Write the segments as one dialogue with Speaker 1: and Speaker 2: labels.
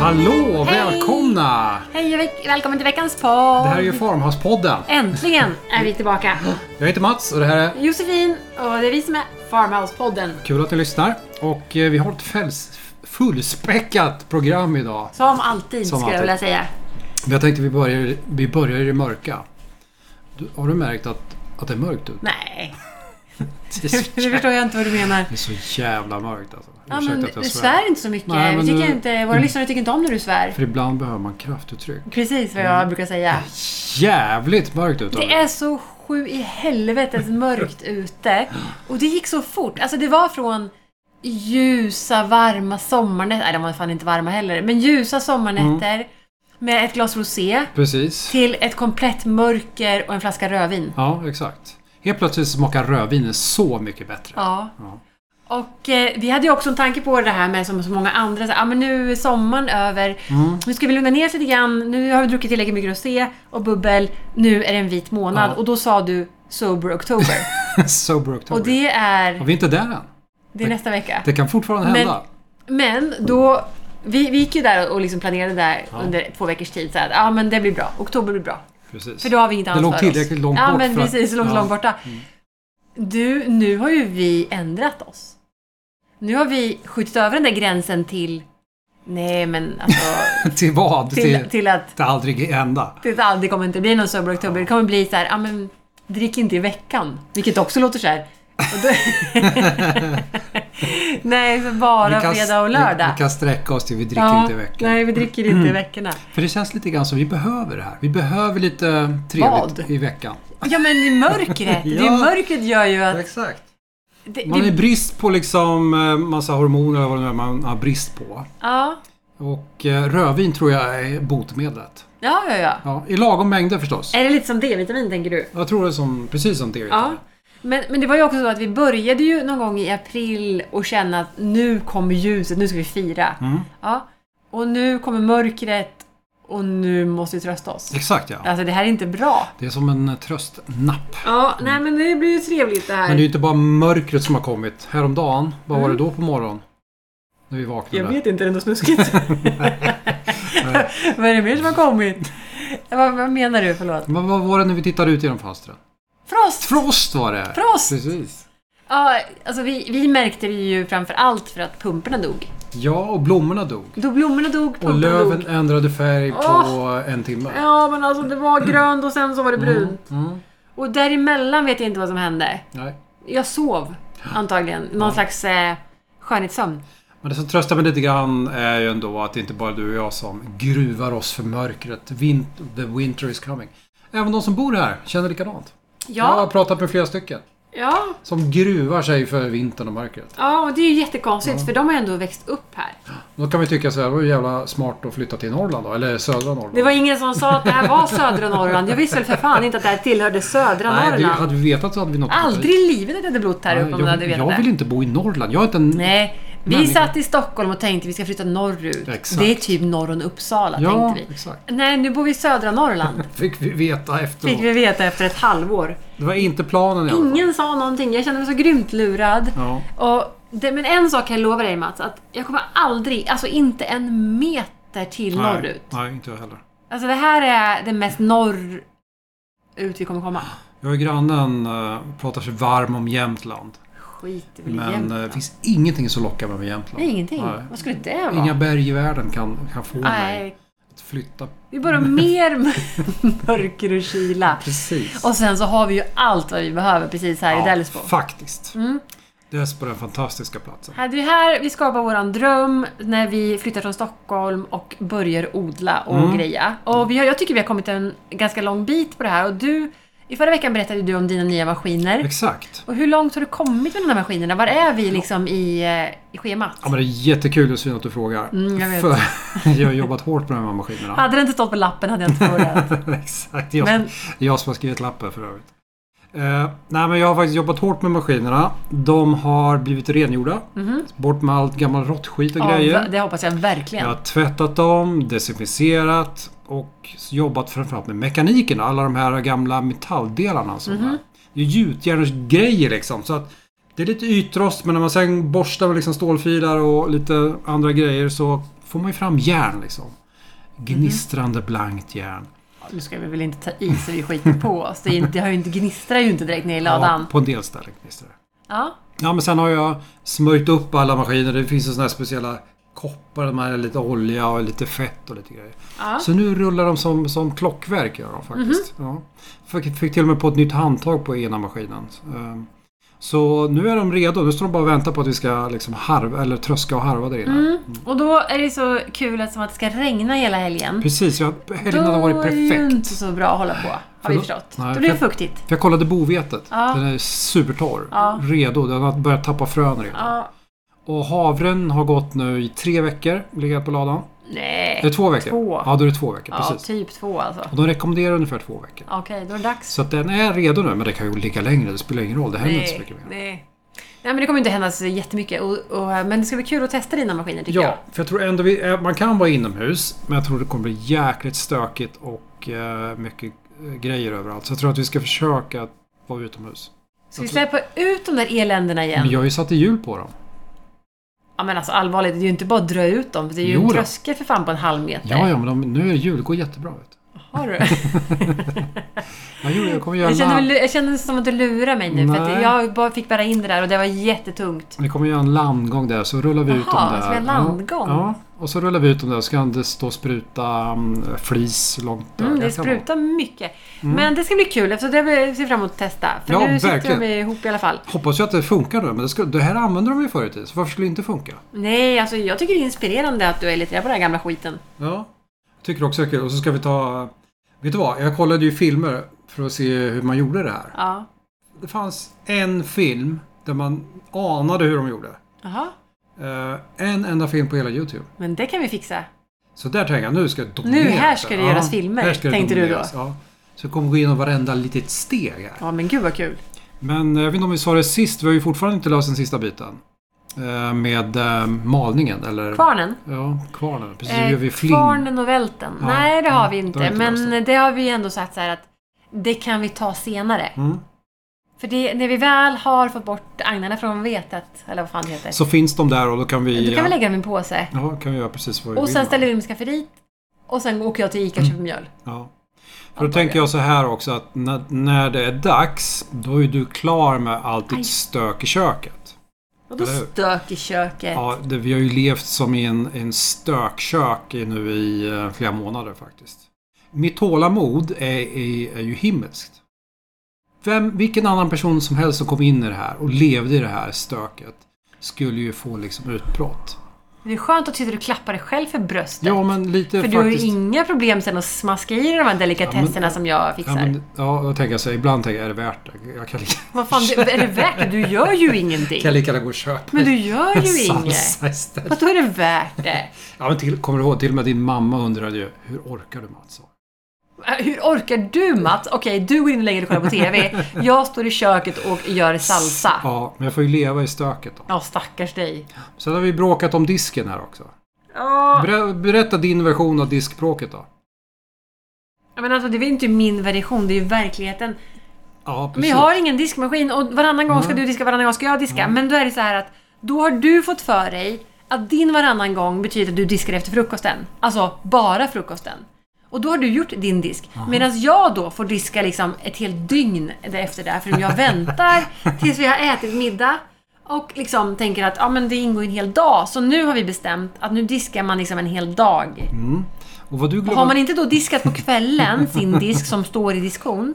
Speaker 1: Hallå och välkomna!
Speaker 2: Hej och väl- välkommen till veckans podd!
Speaker 1: Det här är ju Farmhouse-podden.
Speaker 2: Äntligen är vi tillbaka!
Speaker 1: Jag heter Mats och det här är
Speaker 2: Josefin och det är vi som är Farmhouse-podden.
Speaker 1: kul att ni lyssnar. Och eh, vi har ett fälls- fullspäckat program idag.
Speaker 2: Som alltid
Speaker 1: Som
Speaker 2: skulle jag
Speaker 1: alltid.
Speaker 2: vilja säga.
Speaker 1: Men jag tänkte vi börjar, vi börjar i det mörka. Du, har du märkt att, att det är mörkt ute?
Speaker 2: Nej,
Speaker 1: Det är så
Speaker 2: nu
Speaker 1: jävla,
Speaker 2: förstår jag inte vad du menar.
Speaker 1: det är så jävla mörkt alltså.
Speaker 2: Ja,
Speaker 1: Ursäkta
Speaker 2: men
Speaker 1: att jag
Speaker 2: du svär inte så mycket.
Speaker 1: Nej, men Mm.
Speaker 2: vi tycker
Speaker 1: du-
Speaker 2: inte, våra lyssnare tycker inte om när du svär.
Speaker 1: För ibland behöver man kraftuttryck.
Speaker 2: Precis vad
Speaker 1: Mm.
Speaker 2: jag brukar säga.
Speaker 1: Jävligt mörkt ute.
Speaker 2: Det är så sju i helvetes mörkt ute. Och det gick så fort. Alltså det var från ljusa, varma sommarnätter. Nej, de var fan inte varma heller. Men ljusa sommarnätter
Speaker 1: Mm.
Speaker 2: med ett glas rosé.
Speaker 1: Precis.
Speaker 2: Till ett komplett mörker och en flaska rödvin.
Speaker 1: Ja, exakt. Helt plötsligt smakar rödvinen så mycket bättre.
Speaker 2: Ja.
Speaker 1: Ja.
Speaker 2: Och eh, vi hade ju också en tanke på det här med som så många andra. Så, ah, men nu är sommaren över.
Speaker 1: Mm.
Speaker 2: Nu ska vi lugna ner oss lite grann. Nu har vi druckit tillräckligt mycket rosé och bubbel. Nu är det en vit månad.
Speaker 1: Ja.
Speaker 2: Och då sa du Sober October.
Speaker 1: Sober October.
Speaker 2: och det är,
Speaker 1: Och vi är inte där än.
Speaker 2: det är nästa vecka.
Speaker 1: Det kan fortfarande
Speaker 2: Men-
Speaker 1: hända.
Speaker 2: Men då... Vi, vi gick ju där och liksom planerade där under två veckors tid. Så att ah, men det blir bra. Oktober blir bra.
Speaker 1: Precis.
Speaker 2: För då har vi inget
Speaker 1: det
Speaker 2: ansvar
Speaker 1: låg tillräckligt långt
Speaker 2: Ja,
Speaker 1: bort
Speaker 2: men
Speaker 1: för att-
Speaker 2: precis. Så
Speaker 1: Ja.
Speaker 2: långt,
Speaker 1: Mm.
Speaker 2: långt borta. Du, nu har ju vi ändrat oss. Nu har vi skjutit över den där gränsen till... Nej, men alltså...
Speaker 1: Till vad? Till,
Speaker 2: Till,
Speaker 1: till,
Speaker 2: till att...
Speaker 1: aldrig hända.
Speaker 2: Det, all- det kommer inte bli någon sober oktober. Det kommer bli så här, ja men... Drick inte i veckan. Vilket också låter så här... Och då, nej, så bara fredag och lördag.
Speaker 1: Vi, vi kan sträcka oss till vi dricker
Speaker 2: Ja,
Speaker 1: inte i veckan. Mm.
Speaker 2: Nej, vi dricker inte i veckorna.
Speaker 1: För det känns lite grann som vi behöver det här. Vi behöver lite trevligt
Speaker 2: Vad?
Speaker 1: i veckan.
Speaker 2: Ja, men i mörkret. Det
Speaker 1: Ja.
Speaker 2: mörkret gör ju att...
Speaker 1: Exakt.
Speaker 2: Det,
Speaker 1: Man
Speaker 2: det,
Speaker 1: är i brist på liksom eh, massa hormoner eller vad det nu är man har brist på.
Speaker 2: ja,
Speaker 1: Och eh, rödvin tror jag är botemedlet.
Speaker 2: ja, ja, ja.
Speaker 1: Ja, I lagom mängder förstås.
Speaker 2: Är det lite som D-vitamin, tänker du?
Speaker 1: Jag tror det är som, precis som det
Speaker 2: Ja. Men, men det var ju också så att vi började ju någon gång i april och känna att nu kommer ljuset, nu ska vi fira.
Speaker 1: Mm.
Speaker 2: Ja. Och nu kommer mörkret och nu måste vi trösta oss.
Speaker 1: Exakt ja.
Speaker 2: Alltså det här är inte bra.
Speaker 1: Det är som en eh, tröstnapp.
Speaker 2: Ja, nej men det blir ju trevligt det här.
Speaker 1: Men det är ju inte bara mörkret som har kommit. Häromdagen, vad
Speaker 2: Mm.
Speaker 1: var det då på morgonen? När vi vaknade.
Speaker 2: Jag vet inte, det är ändå snuskigt. Vad är det mer som har kommit? Vad, vad menar du? Förlåt.
Speaker 1: Men vad var det när vi tittade ut genom fönstren?
Speaker 2: Frost!
Speaker 1: Frost var det!
Speaker 2: Frost!
Speaker 1: Precis.
Speaker 2: Ja, alltså vi, vi märkte det ju framför allt för att pumporna dog.
Speaker 1: Ja, och blommorna dog.
Speaker 2: Då blommorna dog,
Speaker 1: Och
Speaker 2: pumporna
Speaker 1: löven
Speaker 2: dog.
Speaker 1: ändrade färg på
Speaker 2: Åh!
Speaker 1: en timme.
Speaker 2: Ja, men alltså det var grönt och sen så var det brunt.
Speaker 1: Mm,
Speaker 2: Och däremellan vet jag inte vad som hände.
Speaker 1: nej.
Speaker 2: Jag sov antagligen. Någon slags eh, skönhetssömn.
Speaker 1: Men det som tröstar mig lite grann är ju ändå att det inte bara är du och jag som gruvar oss för mörkret. Vin- the winter is coming. Även de som bor här känner likadant. Jag har
Speaker 2: Ja,
Speaker 1: pratat med flera stycken
Speaker 2: ja,
Speaker 1: som gruvar sig för vintern och mörkret.
Speaker 2: ja, och det är ju jättekonstigt för de har ändå växt upp här.
Speaker 1: Då kan vi tycka så här, det var ju jävla smart att flytta till Norrland då, eller södra Norrland.
Speaker 2: Det var ingen som sa att det här var södra Norrland. Jag visste väl för fan inte att det här tillhörde södra
Speaker 1: Nej, det,
Speaker 2: Norrland.
Speaker 1: hade vi vetat så hade vi något
Speaker 2: Aldrig i livet att det hade blott här
Speaker 1: Nej,
Speaker 2: uppe om
Speaker 1: jag,
Speaker 2: du hade vetat
Speaker 1: jag vill
Speaker 2: det.
Speaker 1: inte bo i Norrland. Jag är inte en...
Speaker 2: Nej, vi
Speaker 1: Människa.
Speaker 2: satt i Stockholm och tänkte vi ska flytta norrut.
Speaker 1: Exakt.
Speaker 2: Det är typ norr om Uppsala
Speaker 1: ja,
Speaker 2: tänkte vi.
Speaker 1: exakt.
Speaker 2: Nej, nu bor vi i södra Norrland.
Speaker 1: Fick vi veta efteråt.
Speaker 2: Fick vi veta efter ett halvår.
Speaker 1: Det var inte planen i alla fall.
Speaker 2: Ingen sa någonting. Jag kände mig så grymt lurad.
Speaker 1: Ja.
Speaker 2: Och det, men en sak kan jag lova dig Mats, att jag kommer aldrig, alltså inte en meter till norrut.
Speaker 1: Nej, nej, inte jag heller.
Speaker 2: Alltså det här är det mest norrut vi kommer komma.
Speaker 1: Jag och grannen eh, pratar sig varm om Jämtland.
Speaker 2: Skit i väl i
Speaker 1: Men det
Speaker 2: Jämtland.
Speaker 1: finns ingenting som lockar mig med Jämtland.
Speaker 2: Nej, ingenting.
Speaker 1: Nej.
Speaker 2: Vad skulle det vara?
Speaker 1: Inga berg i världen kan, kan få mig
Speaker 2: Nej,
Speaker 1: att flytta.
Speaker 2: det är bara mer mörker och kyla.
Speaker 1: Precis.
Speaker 2: Och sen så har vi ju allt vad vi behöver precis här i Delsbo.
Speaker 1: faktiskt.
Speaker 2: Mm.
Speaker 1: Dels på den fantastiska platsen.
Speaker 2: Här, det är här vi skapar våran dröm när vi flyttar från Stockholm och börjar odla och
Speaker 1: Mm.
Speaker 2: greja. Och vi har, jag tycker vi har kommit en ganska lång bit på det här. Och du, I förra veckan berättade du om dina nya maskiner.
Speaker 1: Exakt.
Speaker 2: Och hur långt har du kommit med de här maskinerna? Var är vi liksom i, eh, i schemat?
Speaker 1: Ja, men det är jättekul Josefin att du frågar.
Speaker 2: Mm, jag vet.
Speaker 1: För jag har jobbat hårt med de här maskinerna.
Speaker 2: Hade det inte stått på lappen hade jag inte frågat.
Speaker 1: Exakt, jag,
Speaker 2: Men
Speaker 1: jag som har skrivit lappen för övrigt. Eh, nej, men jag har faktiskt jobbat hårt med maskinerna. De har blivit rengjorda.
Speaker 2: Mhm.
Speaker 1: Bort med allt gammal råttskit och
Speaker 2: ja,
Speaker 1: grejer.
Speaker 2: det hoppas jag
Speaker 1: Jag
Speaker 2: verkligen.
Speaker 1: har tvättat dem, desinficerat, och jobbat framförallt med mekaniken. Alla de här gamla metalldelarna. Som
Speaker 2: Mhm.
Speaker 1: är. Det är gjutjärnsgrejer liksom. Så att det är lite ytrost men när man sen borstar med liksom stålfilar och lite andra grejer så får man ju fram järn liksom.
Speaker 2: Mhm.
Speaker 1: Gnistrande blankt järn.
Speaker 2: Ja, Nu ska vi väl inte ta i så vi skiter på oss. Det, är inte, det har ju inte, gnistrar ju inte direkt ner i
Speaker 1: Ja,
Speaker 2: ladan.
Speaker 1: på en del ställen gnistrar det.
Speaker 2: Ja.
Speaker 1: Ja, men sen har jag smörjt upp alla maskiner. Det finns ju såna här speciella koppar där man har lite olja och lite fett och lite grejer.
Speaker 2: Ja. Mhm.
Speaker 1: Så nu rullar de som, som klockverk gör de faktiskt. Ja. Fick, fick till och med på ett nytt handtag på ena maskinen. Ehm, Så nu är de redo. Nu står de bara och väntar på att vi ska liksom harva, eller tröska och harva där inne.
Speaker 2: Mm. Och då är det så kul att som att det ska regna hela helgen.
Speaker 1: Precis, jag, helgen har
Speaker 2: Då
Speaker 1: varit
Speaker 2: är det ju
Speaker 1: perfekt.
Speaker 2: inte så bra att hålla på, har vi
Speaker 1: Förlåt?
Speaker 2: förstått.
Speaker 1: Nej,
Speaker 2: då blir det
Speaker 1: för-
Speaker 2: fuktigt.
Speaker 1: För jag kollade bovetet.
Speaker 2: Ja.
Speaker 1: Den är supertorr.
Speaker 2: Ja.
Speaker 1: Redo. Den har börjat tappa frön redan.
Speaker 2: Ja.
Speaker 1: Och havren har gått nu i tre veckor. Ligger på ladan. Det är
Speaker 2: Nej.
Speaker 1: två veckor?
Speaker 2: Två.
Speaker 1: Ja, då är det två veckor.
Speaker 2: Ja,
Speaker 1: Precis.
Speaker 2: typ två alltså.
Speaker 1: Och de rekommenderar ungefär två veckor.
Speaker 2: Okej, då är det dags.
Speaker 1: Så att den är redo nu, men det kan ju ligga längre. Det spelar ingen roll. Det händer inte så mycket mer.
Speaker 2: nej. Nej, men det kommer inte hända så jättemycket. Och, och, men det ska bli kul att testa dina maskiner tycker jag.
Speaker 1: Ja, för jag tror ändå vi, eh, man kan vara inomhus, men jag tror det kommer bli jäkligt stökigt och eh, mycket eh, grejer överallt. Så jag tror att vi ska försöka att vara utomhus.
Speaker 2: Ska vi
Speaker 1: jag tror-
Speaker 2: släppa ut de där eländerna igen?
Speaker 1: Men jag har ju satt i hjul på dem.
Speaker 2: Ja men alltså allvarligt, det är ju inte bara att dra ut dem. Det är ju
Speaker 1: Jo
Speaker 2: en
Speaker 1: då.
Speaker 2: tröskel för fan på en halv meter.
Speaker 1: Ja, ja, men de, nu är jul. går jättebra. Vet du.
Speaker 2: Har du?
Speaker 1: Jag, gjorde, jag kommer göra
Speaker 2: Jag
Speaker 1: en
Speaker 2: känner,
Speaker 1: lamm.
Speaker 2: väl- jag känner som att du lurar mig nu. För att
Speaker 1: Nej.
Speaker 2: jag bara fick bära in det där och det var jättetungt.
Speaker 1: Vi kommer göra en landgång där, så rullar vi ut dem
Speaker 2: Jaha,
Speaker 1: där.
Speaker 2: ska vi ha en landgång?
Speaker 1: Ja, ja, och så rullar vi ut dem där, så kan det stå spruta mm, flis långt
Speaker 2: Mm, det
Speaker 1: ögat kan Mm.
Speaker 2: sprutar mycket. Men det ska bli kul, så det ser jag fram emot att testa. För
Speaker 1: Ja,
Speaker 2: nu sitter
Speaker 1: verkligen.
Speaker 2: de ihop i alla fall.
Speaker 1: man. Hoppas ju att det funkar nu, men det, ska, det här använder de ju förr i tiden, så varför skulle det inte funka?
Speaker 2: Nej, alltså jag tycker det är inspirerande att du är lite på den här gamla skiten.
Speaker 1: Ja. Tycker också det är kul. Och så ska vi ta... Vet du vad? Jag kollade ju filmer för att se hur man gjorde det här.
Speaker 2: Ja.
Speaker 1: Det fanns en film där man anade hur de gjorde.
Speaker 2: Jaha,
Speaker 1: Eh, en enda film på hela YouTube.
Speaker 2: men det kan vi fixa.
Speaker 1: Så där tänkte jag, nu ska jag dominera.
Speaker 2: Nu här ska det göras filmer,
Speaker 1: här ska det
Speaker 2: tänkte du då?
Speaker 1: domineras, Ja. Så jag kommer gå igenom varenda litet steg här.
Speaker 2: Ja, men gud vad kul.
Speaker 1: Men eh, jag vet inte om vi sa det sist, vi har ju fortfarande inte löst den sista biten. Eh, Med eh, malningen eller...
Speaker 2: Kvarnen?
Speaker 1: Ja, kvarnen. Precis,
Speaker 2: Eh,
Speaker 1: nu gör vi fling.
Speaker 2: kvarnen och välten?
Speaker 1: Ja,
Speaker 2: Nej, det
Speaker 1: ja,
Speaker 2: har vi
Speaker 1: det
Speaker 2: inte.
Speaker 1: har vi inte löst
Speaker 2: men det har vi ju ändå sagt så här att det kan vi ta senare.
Speaker 1: Mm.
Speaker 2: För det, när vi väl har fått bort agnarna från vetet, eller vad fan det heter,
Speaker 1: Så finns de där och då kan vi...
Speaker 2: då kan vi lägga dem i en påse.
Speaker 1: Ja, kan vi göra precis vad vi
Speaker 2: Och
Speaker 1: vill
Speaker 2: sen
Speaker 1: med.
Speaker 2: ställer vi dem i skafferiet. Och sen åker jag till ICA
Speaker 1: Mm.
Speaker 2: och köper mjöl.
Speaker 1: Ja. För då tänker jag så här också att när, när det är dags, då är du klar med allt
Speaker 2: Aj.
Speaker 1: ditt stök i köket.
Speaker 2: Och då
Speaker 1: Eller hur?
Speaker 2: stök i köket.
Speaker 1: Ja, det, vi har ju levt som i en, en stökkök i- nu i eh, flera månader faktiskt. Mitt tålamod är, är, är ju himmelskt. Vem, vilken annan person som helst som kom in i det här och levde i det här stöket skulle ju få liksom utbrott.
Speaker 2: Det är skönt att sitta och klappa dig själv för bröstet.
Speaker 1: Ja, men lite
Speaker 2: för du har ju
Speaker 1: faktiskt...
Speaker 2: inga problem sen att smaska i de här delikatesserna som jag
Speaker 1: Ja,
Speaker 2: fixar.
Speaker 1: men, ja, då tänker jag så här, ibland tänker jag, är det värt det? Jag kan lika,
Speaker 2: Vad fan, det, är det värt det? Du gör ju ingenting.
Speaker 1: kan lika gärna gå och köpa
Speaker 2: Men du gör ju inget.
Speaker 1: salsa istället.
Speaker 2: Vadå är det värt det?
Speaker 1: Ja, men till, kommer du ihåg, till och med din mamma undrade ju, hur orkar du Mats?
Speaker 2: Äh, Hur orkar du Mats? Okej, du går in och lägger dig och kollar på TV. Jag står i köket och gör salsa.
Speaker 1: Ja, men jag får ju leva i stöket då.
Speaker 2: Ja, stackars dig.
Speaker 1: Sen har vi bråkat om disken här också.
Speaker 2: Ja,
Speaker 1: Ber- Berätta din version av diskbråket då.
Speaker 2: men alltså det är inte min version, det är ju verkligheten.
Speaker 1: Ja,
Speaker 2: Men
Speaker 1: precis.
Speaker 2: jag har ingen diskmaskin och varannan gång ska du diska, varannan gång ska jag diska. Men då är det så här att då har du fått för dig att din varannan gång betyder att du diskar efter frukosten. Alltså bara frukosten. Och då har du gjort din disk. Medan jag då får diska liksom ett helt dygn efter det. här, För jag väntar tills vi har ätit middag. Och liksom tänker att ja, men det ingår ju en hel dag. Så nu har vi bestämt att nu diskar man liksom en hel dag.
Speaker 1: Och vad du
Speaker 2: Och har
Speaker 1: glömmer...
Speaker 2: man inte då diskat på kvällen sin disk som står i diskon,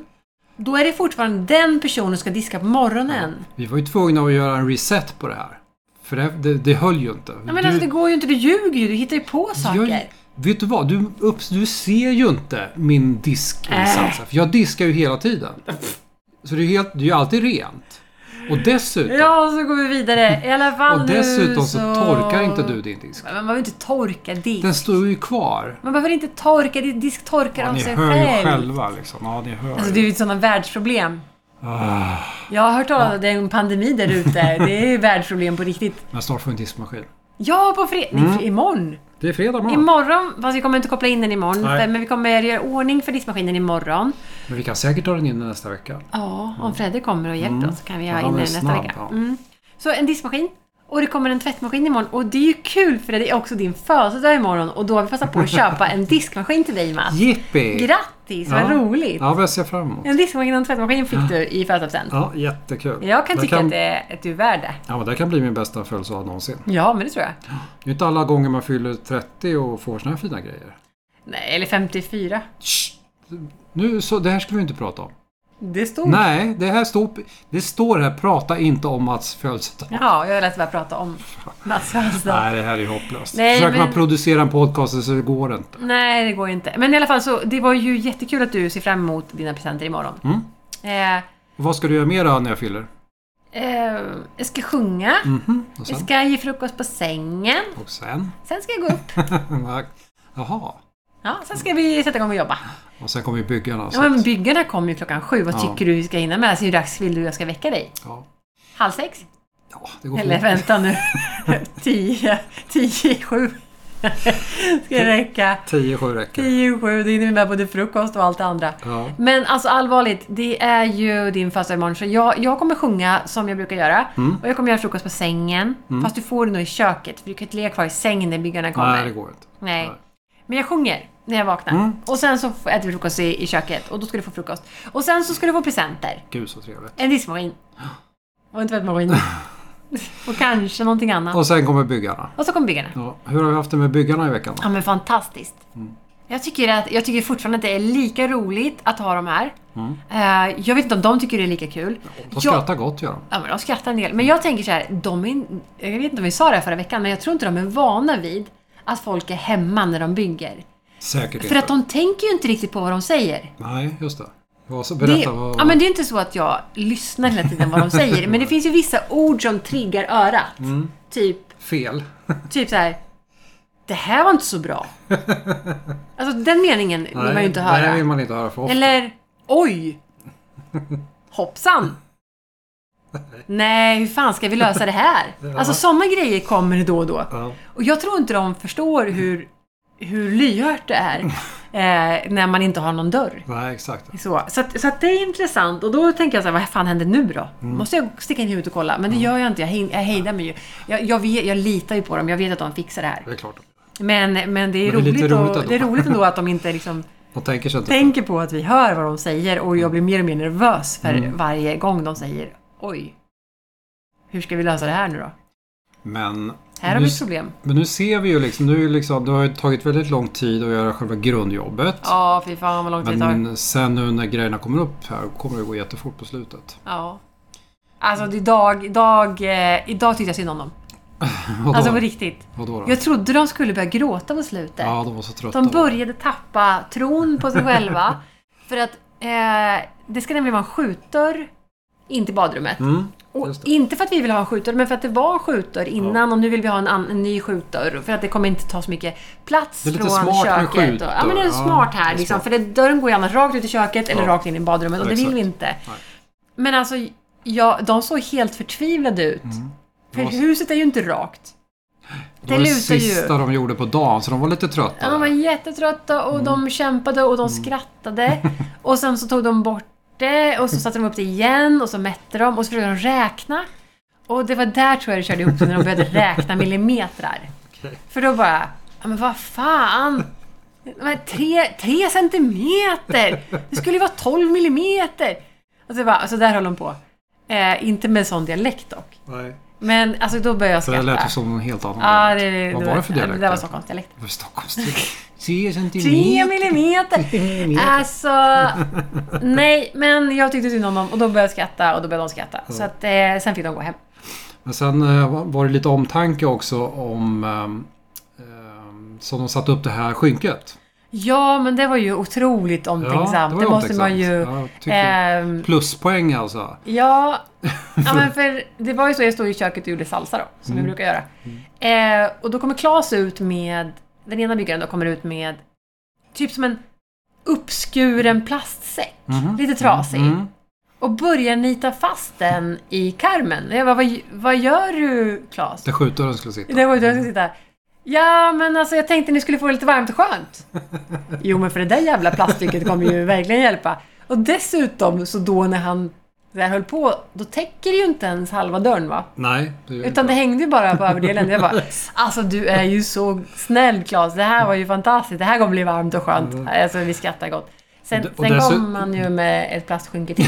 Speaker 2: då är det fortfarande den personen som ska diska på morgonen.
Speaker 1: Vi var ju tvungna att göra en reset på det här. För det, det, det höll ju inte.
Speaker 2: Ja, men alltså, det går ju inte, du ljuger ju, du hittar ju på saker.
Speaker 1: jag, vet du vad? Du, upp, du ser ju inte min diskinsats.
Speaker 2: Äh.
Speaker 1: För jag diskar ju hela tiden. Så det är ju helt- det är ju alltid rent. Och dessutom...
Speaker 2: Ja, så går vi vidare. I alla fall
Speaker 1: Och dessutom
Speaker 2: nu
Speaker 1: så torkar inte du din disk.
Speaker 2: Men man behöver inte torka disk.
Speaker 1: Den står ju kvar.
Speaker 2: Man behöver inte torka disk, disk torkar
Speaker 1: Ja,
Speaker 2: av
Speaker 1: ni
Speaker 2: sig
Speaker 1: hör ju
Speaker 2: själv.
Speaker 1: själva liksom. Ja, ni hör.
Speaker 2: Alltså, det är ju sådana världsproblem.
Speaker 1: ah,
Speaker 2: Jag har hört talas om att det är en pandemi där ute. Det är ju världsproblem på riktigt.
Speaker 1: men snart får vi en diskmaskin.
Speaker 2: Ja, på fredag. Imorgon.
Speaker 1: Det är fredag morgon.
Speaker 2: Imorgon, fast vi kommer inte koppla in den imorgon,
Speaker 1: Nej.
Speaker 2: för, men vi kommer göra i ordning för diskmaskinen imorgon.
Speaker 1: Men vi kan säkert ta den in nästa vecka.
Speaker 2: Ja, om Fredde kommer och hjälper
Speaker 1: Mm.
Speaker 2: oss så kan vi
Speaker 1: Ja,
Speaker 2: ha in
Speaker 1: han
Speaker 2: den
Speaker 1: är
Speaker 2: nästa
Speaker 1: snabb,
Speaker 2: vecka.
Speaker 1: ja.
Speaker 2: Mm. Så en diskmaskin. Och det kommer en tvättmaskin imorgon. Och det är ju kul för det är också din födelsedag imorgon. Och då har vi passat på att köpa en diskmaskin till dig Mats.
Speaker 1: Jippi!
Speaker 2: Grattis, vad
Speaker 1: Ja.
Speaker 2: roligt!
Speaker 1: Ja, vad jag ser fram emot.
Speaker 2: En diskmaskin och en tvättmaskin fick du i födelsedagspresent.
Speaker 1: Ja, jättekul.
Speaker 2: Jag kan
Speaker 1: Det
Speaker 2: tycka
Speaker 1: kan,
Speaker 2: Att, det, att du är värd det.
Speaker 1: Ja, men det kan bli min bästa födelsedag någonsin.
Speaker 2: Ja, men det tror jag.
Speaker 1: Det är inte alla gånger man fyller 30 och får såna här fina grejer.
Speaker 2: Nej, eller 54.
Speaker 1: Shh! Nu, så, det här ska vi inte prata om.
Speaker 2: Det stod.
Speaker 1: Nej, det här står, det står här. Prata inte om Mats födelsedag.
Speaker 2: Ja, jag lät bara prata om Mats födelsedag.
Speaker 1: Nej, det här är hopplöst.
Speaker 2: Nej,
Speaker 1: Försöker
Speaker 2: men-
Speaker 1: man producera en podcast så går det inte.
Speaker 2: Nej, det går inte. Men i alla fall så, det var ju jättekul att du ser fram emot dina presenter imorgon.
Speaker 1: Mm.
Speaker 2: Eh,
Speaker 1: Och vad ska du göra mer då när jag fyller?
Speaker 2: eh, jag ska sjunga.
Speaker 1: Mhm. Och
Speaker 2: Jag
Speaker 1: sen?
Speaker 2: ska ge frukost på sängen.
Speaker 1: Och sen?
Speaker 2: Sen ska jag gå upp.
Speaker 1: Jaha.
Speaker 2: Ja, sen ska vi sätta igång och jobba.
Speaker 1: Och sen kommer ju byggarna.
Speaker 2: Ja,
Speaker 1: Så
Speaker 2: men
Speaker 1: att,
Speaker 2: byggarna kommer ju klockan sju. Vad
Speaker 1: Ja.
Speaker 2: tycker du vi ska hinna med? Så hur dags vill du jag ska väcka dig?
Speaker 1: ja.
Speaker 2: Halv sex?
Speaker 1: ja, det går fort.
Speaker 2: Eller vänta nu. Tio. Tio i sju. Ska det räcka.
Speaker 1: 10-7 räcker.
Speaker 2: Tio i sju. Då hinner vi med både frukost och allt det andra.
Speaker 1: Ja.
Speaker 2: Men alltså allvarligt, det är ju din födelsedag imorgon. Så jag, jag kommer sjunga som jag brukar göra.
Speaker 1: Mm.
Speaker 2: Och jag kommer göra frukost på sängen. Fast du får det nog i köket. För du kan inte ligga kvar i sängen när byggarna kommer.
Speaker 1: Nej, det går inte. Mm.
Speaker 2: Nej.
Speaker 1: Nej.
Speaker 2: Men jag sjunger när jag vaknar. Och sen så får- äter vi frukost i, i köket. Och då ska du få frukost. Och sen så ska du få presenter.
Speaker 1: Gud så trevligt.
Speaker 2: En diskmaskin. Och en tvättmaskin. och kanske någonting annat.
Speaker 1: Och sen kommer byggarna.
Speaker 2: Och så kommer byggarna.
Speaker 1: Ja. Hur har vi haft det med byggarna i veckan? då?
Speaker 2: Ja men fantastiskt.
Speaker 1: Mm.
Speaker 2: Jag, tycker att, jag tycker fortfarande att det är lika roligt att ha dem här. Eh, jag vet inte om de tycker det är lika kul.
Speaker 1: Mm. De
Speaker 2: jag,
Speaker 1: skrattar gott gör de.
Speaker 2: ja, men de skrattar en del. Men jag tänker så här, de är, jag vet inte om vi sa det här förra veckan, men jag tror inte de är vana vid att folk är hemma när de bygger.
Speaker 1: Säkert
Speaker 2: För
Speaker 1: inte.
Speaker 2: att de tänker ju inte riktigt på vad de säger.
Speaker 1: Nej, just det. Vad så-
Speaker 2: Det,
Speaker 1: Berätta vad...
Speaker 2: ja, men det är inte så att jag lyssnar hela tiden vad de säger, men det finns ju vissa ord som triggar örat.
Speaker 1: Mm.
Speaker 2: Typ,
Speaker 1: Fel.
Speaker 2: typ så här. Det här var inte så bra. Alltså den meningen vill man ju inte höra.
Speaker 1: Nej, vill man inte höra för ofta.
Speaker 2: Eller oj! Hoppsan! Nej, hur fan ska vi lösa det här? Alltså sådana grejer kommer det då och då.
Speaker 1: Ja.
Speaker 2: Och jag tror inte de förstår hur, hur lyhört det är eh, när man inte har någon dörr.
Speaker 1: Nej, exakt.
Speaker 2: Så, så, att, så att det är intressant och då tänker jag så här, vad fan händer nu då? Måste jag sticka in huvudet och kolla? Men det gör jag inte, jag, hej, jag hejdar mig ju. Jag, jag, vet, jag litar ju på dem, jag vet att de fixar det här.
Speaker 1: Det är klart.
Speaker 2: Men, men det är,
Speaker 1: Men det är
Speaker 2: roligt,
Speaker 1: lite roligt
Speaker 2: och,
Speaker 1: ändå.
Speaker 2: det är roligt ändå att de inte liksom
Speaker 1: De tänker sig inte
Speaker 2: tänker på att vi hör vad de säger och
Speaker 1: Mm.
Speaker 2: jag blir mer och mer nervös för varje gång de säger Oj, hur ska vi lösa det här nu då?
Speaker 1: Men,
Speaker 2: Här har
Speaker 1: nu,
Speaker 2: vi ett problem.
Speaker 1: men nu ser vi ju liksom, nu är ju liksom, det har ju tagit väldigt lång tid att göra själva grundjobbet.
Speaker 2: Ja, fy fan vad lång tid det tar.
Speaker 1: men sen nu när grejerna kommer upp här kommer det gå jättefort på slutet.
Speaker 2: Ja. Alltså det är idag, idag, eh, idag tyckte jag synd om dem.
Speaker 1: Vadå?
Speaker 2: Alltså på riktigt.
Speaker 1: Vadå då?
Speaker 2: Jag trodde de skulle börja gråta på slutet.
Speaker 1: Ja, de var så trötta.
Speaker 2: De började tappa tron på sig själva. För att eh, det ska nämligen vara en skjutdörr in till badrummet.
Speaker 1: Mm.
Speaker 2: Och
Speaker 1: Just det.
Speaker 2: inte för att vi vill ha en skjutdörr, men för att det var en skjutdörr innan och nu vill vi ha en, an- en ny skjutdörr. För att det kommer inte ta så mycket plats
Speaker 1: Det är lite
Speaker 2: från
Speaker 1: smart med
Speaker 2: köket. och, ja, men det är
Speaker 1: skjutdörr.
Speaker 2: smart
Speaker 1: Ja,
Speaker 2: här.
Speaker 1: det är
Speaker 2: liksom,
Speaker 1: smart.
Speaker 2: För det, dörren går gärna rakt ut i köket eller
Speaker 1: Ja.
Speaker 2: rakt in i badrummet och
Speaker 1: Ja,
Speaker 2: det vill
Speaker 1: exakt.
Speaker 2: vi inte. Men alltså, ja, de såg helt förtvivlade ut.
Speaker 1: Mm.
Speaker 2: För
Speaker 1: Ja, så-
Speaker 2: huset är ju inte rakt.
Speaker 1: Det var det
Speaker 2: lutar ju.
Speaker 1: sista de gjorde på dagen, så de var lite trötta.
Speaker 2: Ja, de var jättetrötta och
Speaker 1: Mm.
Speaker 2: de kämpade och de skrattade. Och sen så tog de bort det och så
Speaker 1: Mm.
Speaker 2: satte de upp det igen och så mätte de och så försökte de räkna. Och det var där tror jag det körde ihop sig när de började räkna millimetrar.
Speaker 1: Okej.
Speaker 2: För då bara, ja men vad fan! Men tre, tre centimeter! Det skulle ju vara 12 millimeter! Och så bara, alltså där höll de på. Eh, inte med sån dialekt dock.
Speaker 1: Nej.
Speaker 2: Men alltså då började jag
Speaker 1: Så det
Speaker 2: skratta.
Speaker 1: lät ju som en helt annan
Speaker 2: Ja,
Speaker 1: dialekt.
Speaker 2: det,
Speaker 1: Vad var det för dialekt?
Speaker 2: Det där var Stockholmsdialekt.
Speaker 1: Det var Stockholmsdialekt. Tre
Speaker 2: Tre
Speaker 1: centimeter.
Speaker 2: millimeter! Alltså, nej, men jag tyckte synd om dem och då började jag skratta och då började de skratta. Så att eh, sen fick de gå hem.
Speaker 1: Men sen eh, var- var det lite omtanke också om... ehm, ehm, Som de satte upp det här skynket.
Speaker 2: Ja, men det var ju otroligt omtänksamt.
Speaker 1: Ja, det
Speaker 2: det,
Speaker 1: var ju
Speaker 2: måste man
Speaker 1: omtänksamt.
Speaker 2: ju... eh,
Speaker 1: Ja, tycker
Speaker 2: Ja,
Speaker 1: Pluspoäng alltså.
Speaker 2: ja, ja, men för det var ju så jag stod i köket och gjorde salsa då, som
Speaker 1: Mm.
Speaker 2: vi brukar göra. Eh, och då kommer Claes ut med, den ena byggaren då, kommer ut med typ som en uppskuren plastsäck. Lite trasig.
Speaker 1: Mm.
Speaker 2: Och börjar nita fast den i karmen. Jag bara, vad, vad gör du Claes?
Speaker 1: Där skjutdörren skulle sitta.
Speaker 2: Det var ju där jag skulle sitta. Ja, men alltså jag tänkte ni skulle få det lite varmt och skönt. Jo, men för det där jävla plaststycket kommer ju verkligen hjälpa. Och dessutom, så då när han där höll på, då täcker det ju inte ens halva dörren va?
Speaker 1: Nej. Det gör
Speaker 2: Utan det hängde ju bara på överdelen. Jag bara, alltså du är ju så snäll Claes. Det här var ju fantastiskt. Det här kommer bli varmt och skönt. Alltså vi skrattar gott. Sen,
Speaker 1: Mm. Och d- och
Speaker 2: sen
Speaker 1: dessut-
Speaker 2: kom man ju med ett plastskynke till.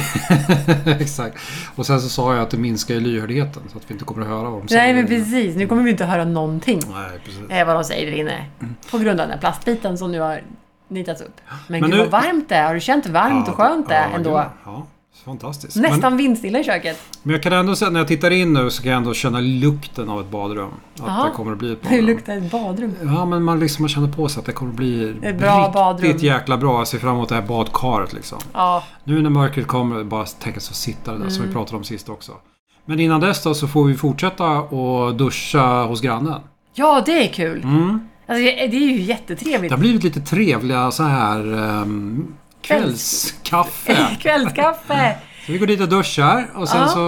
Speaker 1: Exakt. Och sen så sa jag att det minskar ju lyhördheten så att vi inte kommer att höra vad de säger.
Speaker 2: Nej men precis, nu kommer vi inte höra någonting.
Speaker 1: Nej, Mm. precis.
Speaker 2: Eh, vad de säger där inne. På grund av den här plastbiten som nu har nitats upp. Men,
Speaker 1: Men
Speaker 2: gud
Speaker 1: nu-
Speaker 2: vad varmt det är. Har du känt hur varmt och skönt det är
Speaker 1: ja,
Speaker 2: ändå?
Speaker 1: gud, Ja, fantastiskt. Men,
Speaker 2: Nästan vindstilla i köket.
Speaker 1: men jag kan ändå säga när jag tittar in nu så kan jag ändå känna lukten av ett badrum. Att
Speaker 2: Jaha.
Speaker 1: det kommer att bli ett
Speaker 2: Hur
Speaker 1: badrum.
Speaker 2: luktar ett badrum?
Speaker 1: Ja, men man, liksom, man känner på sig att det kommer att bli
Speaker 2: Ett bra
Speaker 1: riktigt
Speaker 2: badrum.
Speaker 1: jäkla bra. Jag ser fram emot det här badkaret liksom.
Speaker 2: Ja,
Speaker 1: Nu när mörkret kommer, bara tänka sig att sitta där som
Speaker 2: Mm.
Speaker 1: vi pratade om sist också. Men innan dess då så får vi fortsätta och duscha hos grannen.
Speaker 2: ja det är kul.
Speaker 1: Mm.
Speaker 2: Alltså, det är ju
Speaker 1: Det
Speaker 2: jättetrevligt.
Speaker 1: har blivit lite trevliga så här ehm, kvällskaffe.
Speaker 2: Kvällskaffe!
Speaker 1: Så vi går dit och duschar och sen
Speaker 2: Ja.
Speaker 1: så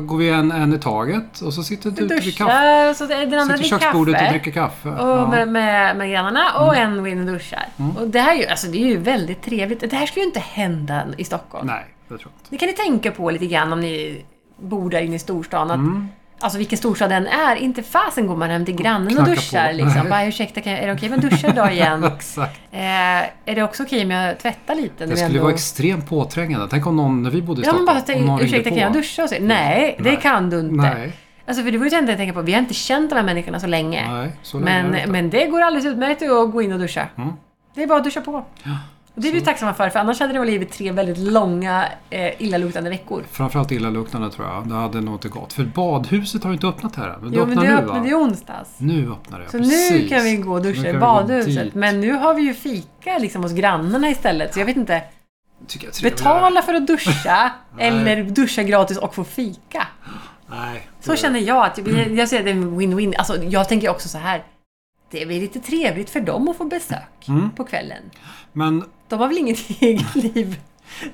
Speaker 1: går vi en, en i taget och så sitter du vid kaffe.
Speaker 2: Duschar, så det- den
Speaker 1: Sitter
Speaker 2: andra
Speaker 1: vid
Speaker 2: dricker
Speaker 1: köksbordet och
Speaker 2: kaffe.
Speaker 1: dricker kaffe.
Speaker 2: Och
Speaker 1: Ja. Mm.
Speaker 2: med, med, med grannarna och en går in och duschar. Och det här är ju, alltså, det är ju väldigt trevligt. Det här skulle ju inte hända i Stockholm.
Speaker 1: Nej, det tror jag inte.
Speaker 2: Det kan ni tänka på lite grann om ni bor där inne i storstan. Att,
Speaker 1: Mm.
Speaker 2: Alltså vilken storstad den är, inte fasen går man hem till grannen och
Speaker 1: Knackar
Speaker 2: duschar.
Speaker 1: på.
Speaker 2: Liksom.
Speaker 1: Nej.
Speaker 2: Bara, ursäkta, kan jag, är det okej om jag duschar idag igen?
Speaker 1: Exakt.
Speaker 2: eh, är det också okej om jag tvättar lite?
Speaker 1: Det skulle vara extremt påträngande. Tänk om någon, när vi bodde i
Speaker 2: Ja, men
Speaker 1: Stockholm,
Speaker 2: bara
Speaker 1: om någon ringde
Speaker 2: tänk, ursäkta, kan jag
Speaker 1: på.
Speaker 2: duscha? Och så, nej, det
Speaker 1: Nej.
Speaker 2: kan du inte.
Speaker 1: Nej,
Speaker 2: Alltså för det var ju det enda jag tänkte på. Vi har inte känt de här människorna så länge.
Speaker 1: nej. Så länge är det inte.
Speaker 2: men, men det går alldeles utmärkt att gå in och duscha.
Speaker 1: Mm.
Speaker 2: Det är bara att duscha på. Och det är vi ju tacksamma för, för annars hade det blivit tre väldigt långa eh, illaluktande veckor.
Speaker 1: Framförallt illaluktande tror jag. Det hade nog inte gått. För badhuset har ju inte öppnat här än. Men det
Speaker 2: Jo, men
Speaker 1: öppnar
Speaker 2: det
Speaker 1: nu
Speaker 2: öppnade ju
Speaker 1: va?
Speaker 2: onsdags.
Speaker 1: Nu öppnar det,
Speaker 2: Så
Speaker 1: precis.
Speaker 2: nu kan vi gå och
Speaker 1: Så nu
Speaker 2: duscha
Speaker 1: kan
Speaker 2: i
Speaker 1: vi gå
Speaker 2: badhuset.
Speaker 1: dit.
Speaker 2: Men nu har vi ju fika liksom hos grannarna istället. Så jag vet inte.
Speaker 1: Tycker jag är trevligare.
Speaker 2: Betala för att duscha
Speaker 1: Nej.
Speaker 2: eller duscha gratis och få fika.
Speaker 1: Nej.
Speaker 2: Så känner jag att jag, jag ser det är en win-win. Alltså, jag tänker också så här. Det blir lite trevligt för dem att få besök
Speaker 1: Mm.
Speaker 2: på kvällen.
Speaker 1: Men
Speaker 2: De har väl inget eget liv?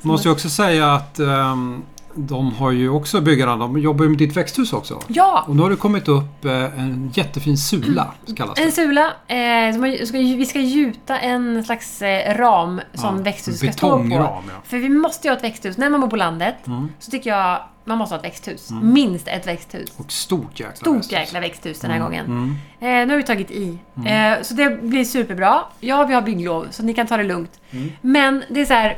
Speaker 1: måste ju också säga att ehm, de har ju också byggarna, de jobbar ju med ditt växthus också.
Speaker 2: Ja!
Speaker 1: Och nu har det kommit upp eh, en jättefin sula, kallas
Speaker 2: Mm. En
Speaker 1: det.
Speaker 2: sula. Eh, som man ska, vi ska gjuta en slags eh, ram som
Speaker 1: Ja,
Speaker 2: växthuset
Speaker 1: en
Speaker 2: ska stå på.
Speaker 1: betongram, ja. Mm.
Speaker 2: För vi måste ju ha ett växthus. När man bor på landet så tycker jag man måste ha ett växthus. Minst ett växthus.
Speaker 1: Och stort jäkla
Speaker 2: Stort
Speaker 1: växthus.
Speaker 2: jäkla
Speaker 1: Mm.
Speaker 2: växthus den här gången. Eh, nu har vi tagit i. Eh, så det blir superbra. Ja, vi har bygglov, så ni kan ta det lugnt.
Speaker 1: Mm.
Speaker 2: Men det är så här...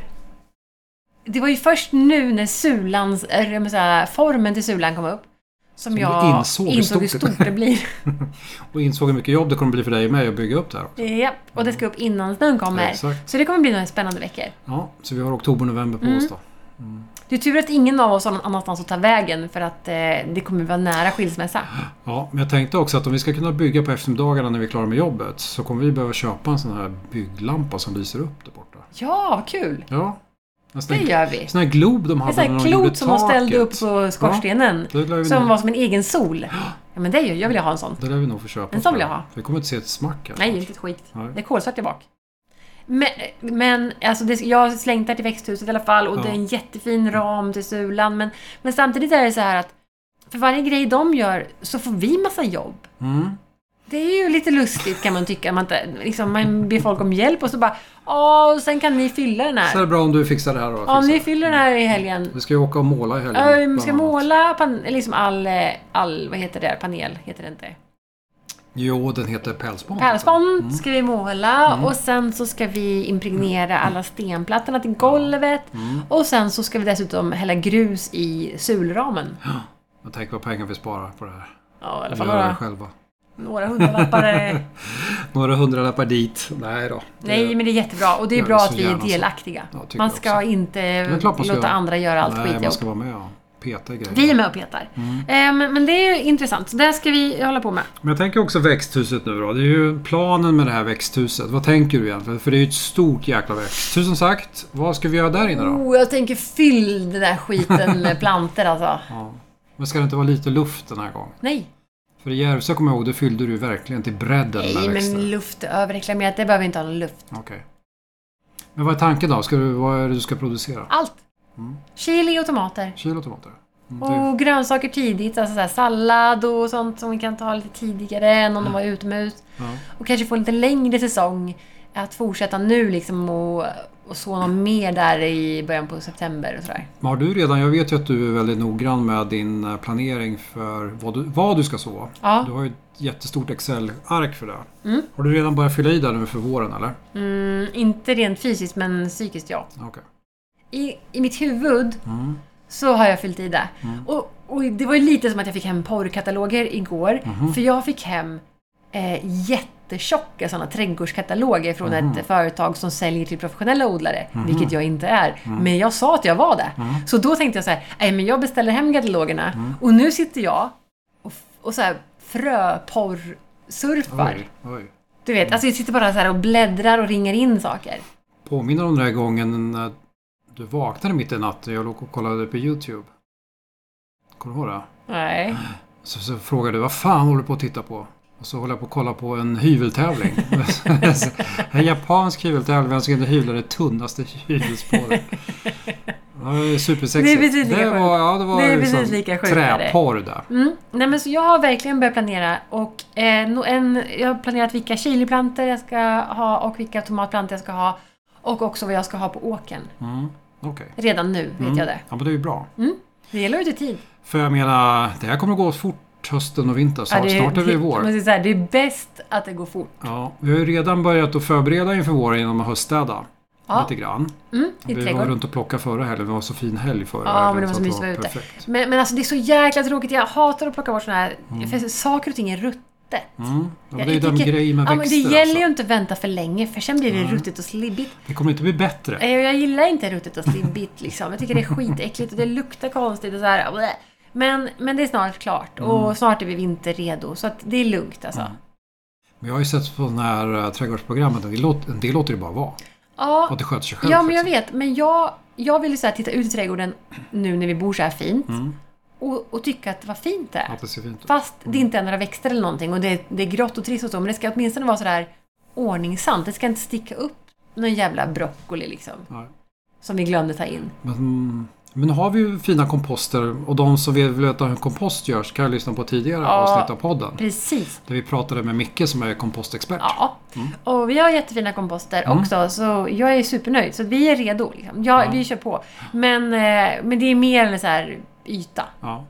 Speaker 2: Det var ju först nu när sulans, eh, jag måste säga, formen till sulan kom upp som,
Speaker 1: du
Speaker 2: jag
Speaker 1: insåg
Speaker 2: insåg,
Speaker 1: hur
Speaker 2: hur
Speaker 1: stort det-
Speaker 2: stort det blir.
Speaker 1: Och insåg hur mycket jobb det kommer bli för dig och mig att bygga upp det här. också.
Speaker 2: Japp, och det ska upp innan snön kommer.
Speaker 1: Exakt.
Speaker 2: Så det kommer bli några spännande veckor.
Speaker 1: Ja, så vi har oktober november
Speaker 2: Mm.
Speaker 1: på oss då.
Speaker 2: Det är tur att ingen av oss har någon annanstans att ta vägen för att eh, det kommer vara nära skilsmässa.
Speaker 1: Ja, men jag tänkte också att om vi ska kunna bygga på eftermiddagarna när vi är klara med jobbet så kommer vi behöva köpa en sån här bygglampa som lyser upp där borta.
Speaker 2: Ja, vad kul!
Speaker 1: Ja. En sån
Speaker 2: Det
Speaker 1: här,
Speaker 2: gör vi.
Speaker 1: sån här glob de
Speaker 2: Det är
Speaker 1: hade
Speaker 2: så
Speaker 1: när
Speaker 2: här
Speaker 1: de gjorde
Speaker 2: klot som de ställde upp
Speaker 1: taket.
Speaker 2: på skorstenen.
Speaker 1: Det lär vi
Speaker 2: Som
Speaker 1: nog-
Speaker 2: var som en egen sol. Ja, men det är ju, jag vill ha en sån.
Speaker 1: Det lär vi nog få köpa.
Speaker 2: En sån
Speaker 1: tror
Speaker 2: vill jag ha.
Speaker 1: Vi kommer inte se ett smack här.
Speaker 2: Nej, inte ett skit.
Speaker 1: Nej.
Speaker 2: Det är kolsvart där bak. Men, men alltså det, jag har slängt det till växthuset i alla fall och
Speaker 1: Ja.
Speaker 2: det är en jättefin ram till sulan. Men, men samtidigt är det så här att för varje grej de gör så får vi massa jobb.
Speaker 1: Mm.
Speaker 2: Det är ju lite lustigt kan man tycka. Man, inte- liksom, man ber folk om hjälp och så bara Åh, sen kan ni fylla den
Speaker 1: Så är
Speaker 2: här.
Speaker 1: det bra om du fixar det här då.
Speaker 2: Om
Speaker 1: fixar
Speaker 2: ni
Speaker 1: det.
Speaker 2: fyller den här i helgen.
Speaker 1: Vi ska ju åka och måla i helgen.
Speaker 2: Ja, vi ska
Speaker 1: bland annat.
Speaker 2: måla pan, liksom all, eh, all, vad heter det, där? panel heter det inte.
Speaker 1: Jo, den heter Pärlspont. Mm.
Speaker 2: Pärlspont ska vi måla och sen så ska vi impregnera
Speaker 1: Mm.
Speaker 2: alla stenplattorna till golvet. Och sen så ska vi dessutom hälla grus i sulramen.
Speaker 1: Men tänk vad pengar vi sparar på det här.
Speaker 2: Ja, i alla
Speaker 1: Vi
Speaker 2: fall
Speaker 1: gör det
Speaker 2: några,
Speaker 1: själva.
Speaker 2: några hundralappar. eh.
Speaker 1: Några hundralappar dit. Nej då. Det-
Speaker 2: Nej, men det är jättebra. Och det är
Speaker 1: Gör
Speaker 2: bra
Speaker 1: det Eh, så
Speaker 2: att vi är
Speaker 1: gärna så.
Speaker 2: delaktiga.
Speaker 1: Ja, tycker
Speaker 2: man
Speaker 1: jag
Speaker 2: ska
Speaker 1: också.
Speaker 2: inte
Speaker 1: Men klart man ska
Speaker 2: låta
Speaker 1: göra.
Speaker 2: andra göra allt
Speaker 1: Nej, man
Speaker 2: skitjobb.
Speaker 1: ska Mm. vara med och peta i grejer.
Speaker 2: Vi är med och petar. Eh, men, men det är ju intressant. Så det här ska vi hålla på med.
Speaker 1: Men jag tänker också växthuset nu då. Det är ju planen med det här växthuset. Vad tänker du egentligen? För det är ju ett stort jäkla växthus som sagt. Vad ska vi göra där inne då?
Speaker 2: Oh, jag tänker fyll den där skiten med planter alltså.
Speaker 1: Ja. Men ska det inte vara lite luft den här gången?
Speaker 2: Nej.
Speaker 1: För i Järvsö kommer jag ihåg, då fyllde du ju verkligen till bredden
Speaker 2: Nej,
Speaker 1: med växter.
Speaker 2: men luft är överreklamerat. Det behöver vi inte ha någon luft.
Speaker 1: Okej. Men vad är tanken då? Ska du, vad är det du ska producera? Mm.
Speaker 2: Allt. Chili och tomater.
Speaker 1: Kilo tomater? Mm,
Speaker 2: Och grönsaker tidigt, alltså så här sallad och sånt som vi kan ta lite tidigare än
Speaker 1: Mm.
Speaker 2: om de var utomhus.
Speaker 1: Ja.
Speaker 2: Och kanske få en lite längre säsong. Att fortsätta nu liksom och, och så något mer där i början på september och sådär.
Speaker 1: Men har du redan, jag vet ju att du är väldigt noggrann med din eh, planering för vad du, vad du ska så.
Speaker 2: Ja.
Speaker 1: Du har ju ett jättestort Excel-ark för det.
Speaker 2: Mm.
Speaker 1: Har du redan börjat fylla i där nu för våren eller?
Speaker 2: Mm, inte rent fysiskt men psykiskt ja.
Speaker 1: Okej.
Speaker 2: I, I mitt huvud
Speaker 1: Mm.
Speaker 2: så har jag fyllt i det.
Speaker 1: Mm.
Speaker 2: Och, och det var ju lite som att jag fick hem porrkataloger igår.
Speaker 1: Mm-hmm.
Speaker 2: För jag fick hem eh, jättetjocka sådana trädgårdskataloger från
Speaker 1: Mm-hmm.
Speaker 2: ett företag som säljer till professionella odlare. Vilket jag inte är.
Speaker 1: Mm.
Speaker 2: Men jag sa att jag var det. Så då tänkte jag så här, nej men jag beställer hem katalogerna.
Speaker 1: Mm.
Speaker 2: Och nu sitter jag och, f- och så här fröporrsurfar.
Speaker 1: Oj, oj.
Speaker 2: Du vet, alltså jag sitter bara så här och bläddrar och ringar in saker.
Speaker 1: Påminner om den där gången när du vaknade mitt i natten och jag låg och kollade på YouTube. Kommer du ihåg det?
Speaker 2: Nej.
Speaker 1: Så, så frågade du vad fan håller du på att titta på? Och så håller jag på att kolla på en hyveltävling. en japansk hyveltävling. Vem som kunde hyvla det tunnaste hyvelspåret. Det var ju supersexigt.
Speaker 2: Det är precis lika
Speaker 1: det var, ja, det var
Speaker 2: Det är
Speaker 1: liksom
Speaker 2: precis lika sjukt, är det.
Speaker 1: träporr där.
Speaker 2: Mm. Nej men så jag har verkligen börjat planera och eh, no- en, jag har planerat vilka chiliplantor jag ska ha och vilka tomatplantor jag ska ha. Och också vad jag ska ha på åkern.
Speaker 1: Mm, Okej.
Speaker 2: Redan nu vet
Speaker 1: Mm.
Speaker 2: jag det.
Speaker 1: Ja, men det är ju bra.
Speaker 2: Det gäller ju till tid.
Speaker 1: För jag menar, det här kommer gå fort hösten och vinter. Snart,
Speaker 2: Ja, det,
Speaker 1: snart är det
Speaker 2: Men
Speaker 1: vår.
Speaker 2: det är så här, det är bäst att det går fort.
Speaker 1: Ja, vi har ju redan börjat att förbereda inför våren genom att höststäda.
Speaker 2: Ja.
Speaker 1: Lite grann.
Speaker 2: Mm, I
Speaker 1: Vi var
Speaker 2: trädgården.
Speaker 1: runt och plockade förra helgen. Det var så fin helg förra
Speaker 2: Ja, men
Speaker 1: helgen.
Speaker 2: det var så
Speaker 1: att
Speaker 2: mysigt att vara ute.
Speaker 1: Perfekt.
Speaker 2: Men, men alltså det är så jäkla tråkigt. Jag hatar att plocka bort såna här... För saker och ting är ruttet.
Speaker 1: Mm. Ja, men
Speaker 2: Jag
Speaker 1: det är ju den
Speaker 2: tycker-
Speaker 1: grejen med
Speaker 2: Ja, men det
Speaker 1: växter. Mm.
Speaker 2: gäller
Speaker 1: alltså.
Speaker 2: ju inte att vänta för länge för sen blir det
Speaker 1: Nej.
Speaker 2: ruttet och slibbigt.
Speaker 1: Det kommer inte bli bättre.
Speaker 2: Eh, och Jag gillar inte ruttet och slibbigt liksom. Jag tycker det är skitäckligt och det luktar konstigt och så här. bleh. Men, men det är snart klart och snart är vi vinterredo. Så att det är lugnt alltså.
Speaker 1: Men jag har ju sett på den här uh, trädgårdsprogrammet, en del, låter, en del låter det bara vara.
Speaker 2: Ja,
Speaker 1: Att det sköter sig själv.
Speaker 2: ja men jag
Speaker 1: liksom.
Speaker 2: vet. Men jag, jag vill ju så här titta ut i trädgården nu när vi bor så här fint. Och, och tycka att vad fint det är.
Speaker 1: Att det ser fint ut.
Speaker 2: Fast det inte är några växter eller någonting och det, det är grått och trist och så. Men det ska åtminstone vara sådär ordningsamt. Det ska inte sticka upp någon jävla broccoli liksom.
Speaker 1: Nej.
Speaker 2: Som vi glömde ta in.
Speaker 1: Men, men nu har vi ju fina komposter och de som vill veta hur kompost görs kan lyssna på tidigare
Speaker 2: Ja.
Speaker 1: avsnitt av podden.
Speaker 2: Precis.
Speaker 1: Där vi pratade med Micke som är kompostexpert.
Speaker 2: Ja, och vi har jättefina komposter
Speaker 1: Mm.
Speaker 2: också så jag är supernöjd. Så vi är redo. Liksom. Ja, Vi kör på. Men, eh, men det är mer en så här yta.
Speaker 1: Ja.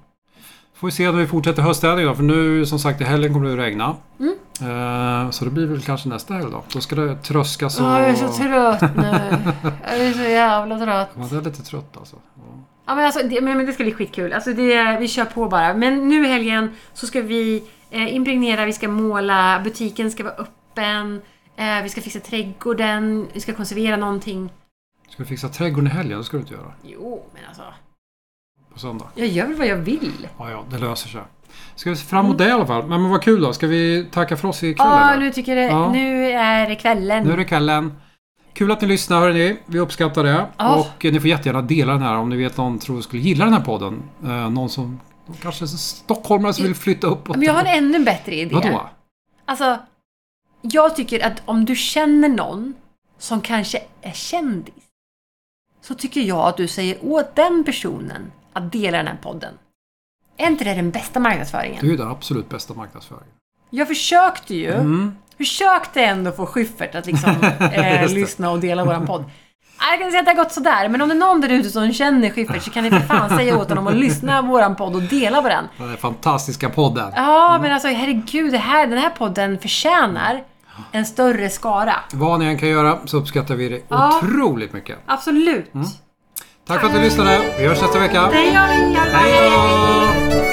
Speaker 1: Får vi se när vi fortsätter höststädningen då. För nu som sagt i helgen kommer det att regna.
Speaker 2: Mm.
Speaker 1: Eh, så det blir väl kanske nästa helg då. Då ska det tröskas och...
Speaker 2: Ja, jag är så trött nu. Jag är så jävla trött.
Speaker 1: Man är lite trött alltså. Ja.
Speaker 2: Ja, men, alltså, det, men, men det ska bli skitkul. Alltså, det, vi kör på bara. Men nu i helgen så ska vi eh, impregnera, vi ska måla, butiken ska vara öppen. Eh, vi ska fixa trädgården, vi ska konservera någonting.
Speaker 1: Ska du fixa trädgården i helgen? Det ska du inte göra.
Speaker 2: Jo, men alltså.
Speaker 1: På söndag.
Speaker 2: Jag gör väl vad jag vill.
Speaker 1: Ja, ja, det löser sig. Ska vi se fram emot det i alla fall. Men, men vad kul då. Ska vi tacka för oss ikväll
Speaker 2: Mm. Ja,
Speaker 1: eller?
Speaker 2: nu tycker jag det,
Speaker 1: Ja.
Speaker 2: nu är det kvällen.
Speaker 1: Nu är det kvällen. Kul att ni lyssnar hörni. Vi uppskattar det.
Speaker 2: Ja.
Speaker 1: Och eh, ni får jättegärna dela den här om ni vet någon tror skulle gilla den här podden. Eh, någon som kanske är stockholmare som vill flytta uppåt.
Speaker 2: Men jag har en ännu bättre idé.
Speaker 1: Vadå?
Speaker 2: Alltså, jag tycker att om du känner någon som kanske är kändis, så tycker jag att du säger åt den personen att dela den här podden. Är inte det den bästa marknadsföringen?
Speaker 1: Det är ju den absolut bästa marknadsföringen.
Speaker 2: Jag försökte ju,
Speaker 1: Mm.
Speaker 2: försökte ändå få Schyffert att liksom eh,
Speaker 1: Just det.
Speaker 2: lyssna och dela våran podd. Nej, Jag kan säga att det har gått sådär, men om det är någon där ute som känner Schyffert så kan ni för fan säga åt honom att lyssna på våran podd och dela på den.
Speaker 1: Den här fantastiska podden.
Speaker 2: Ja, men alltså herregud, det här, den här podden förtjänar en större skara.
Speaker 1: Vad ni än kan göra så uppskattar vi det
Speaker 2: Ja.
Speaker 1: otroligt mycket.
Speaker 2: Absolut.
Speaker 1: Tack för att ni lyssnade. Vi hörs nästa vecka.
Speaker 2: Det gör vi.
Speaker 1: Hej då!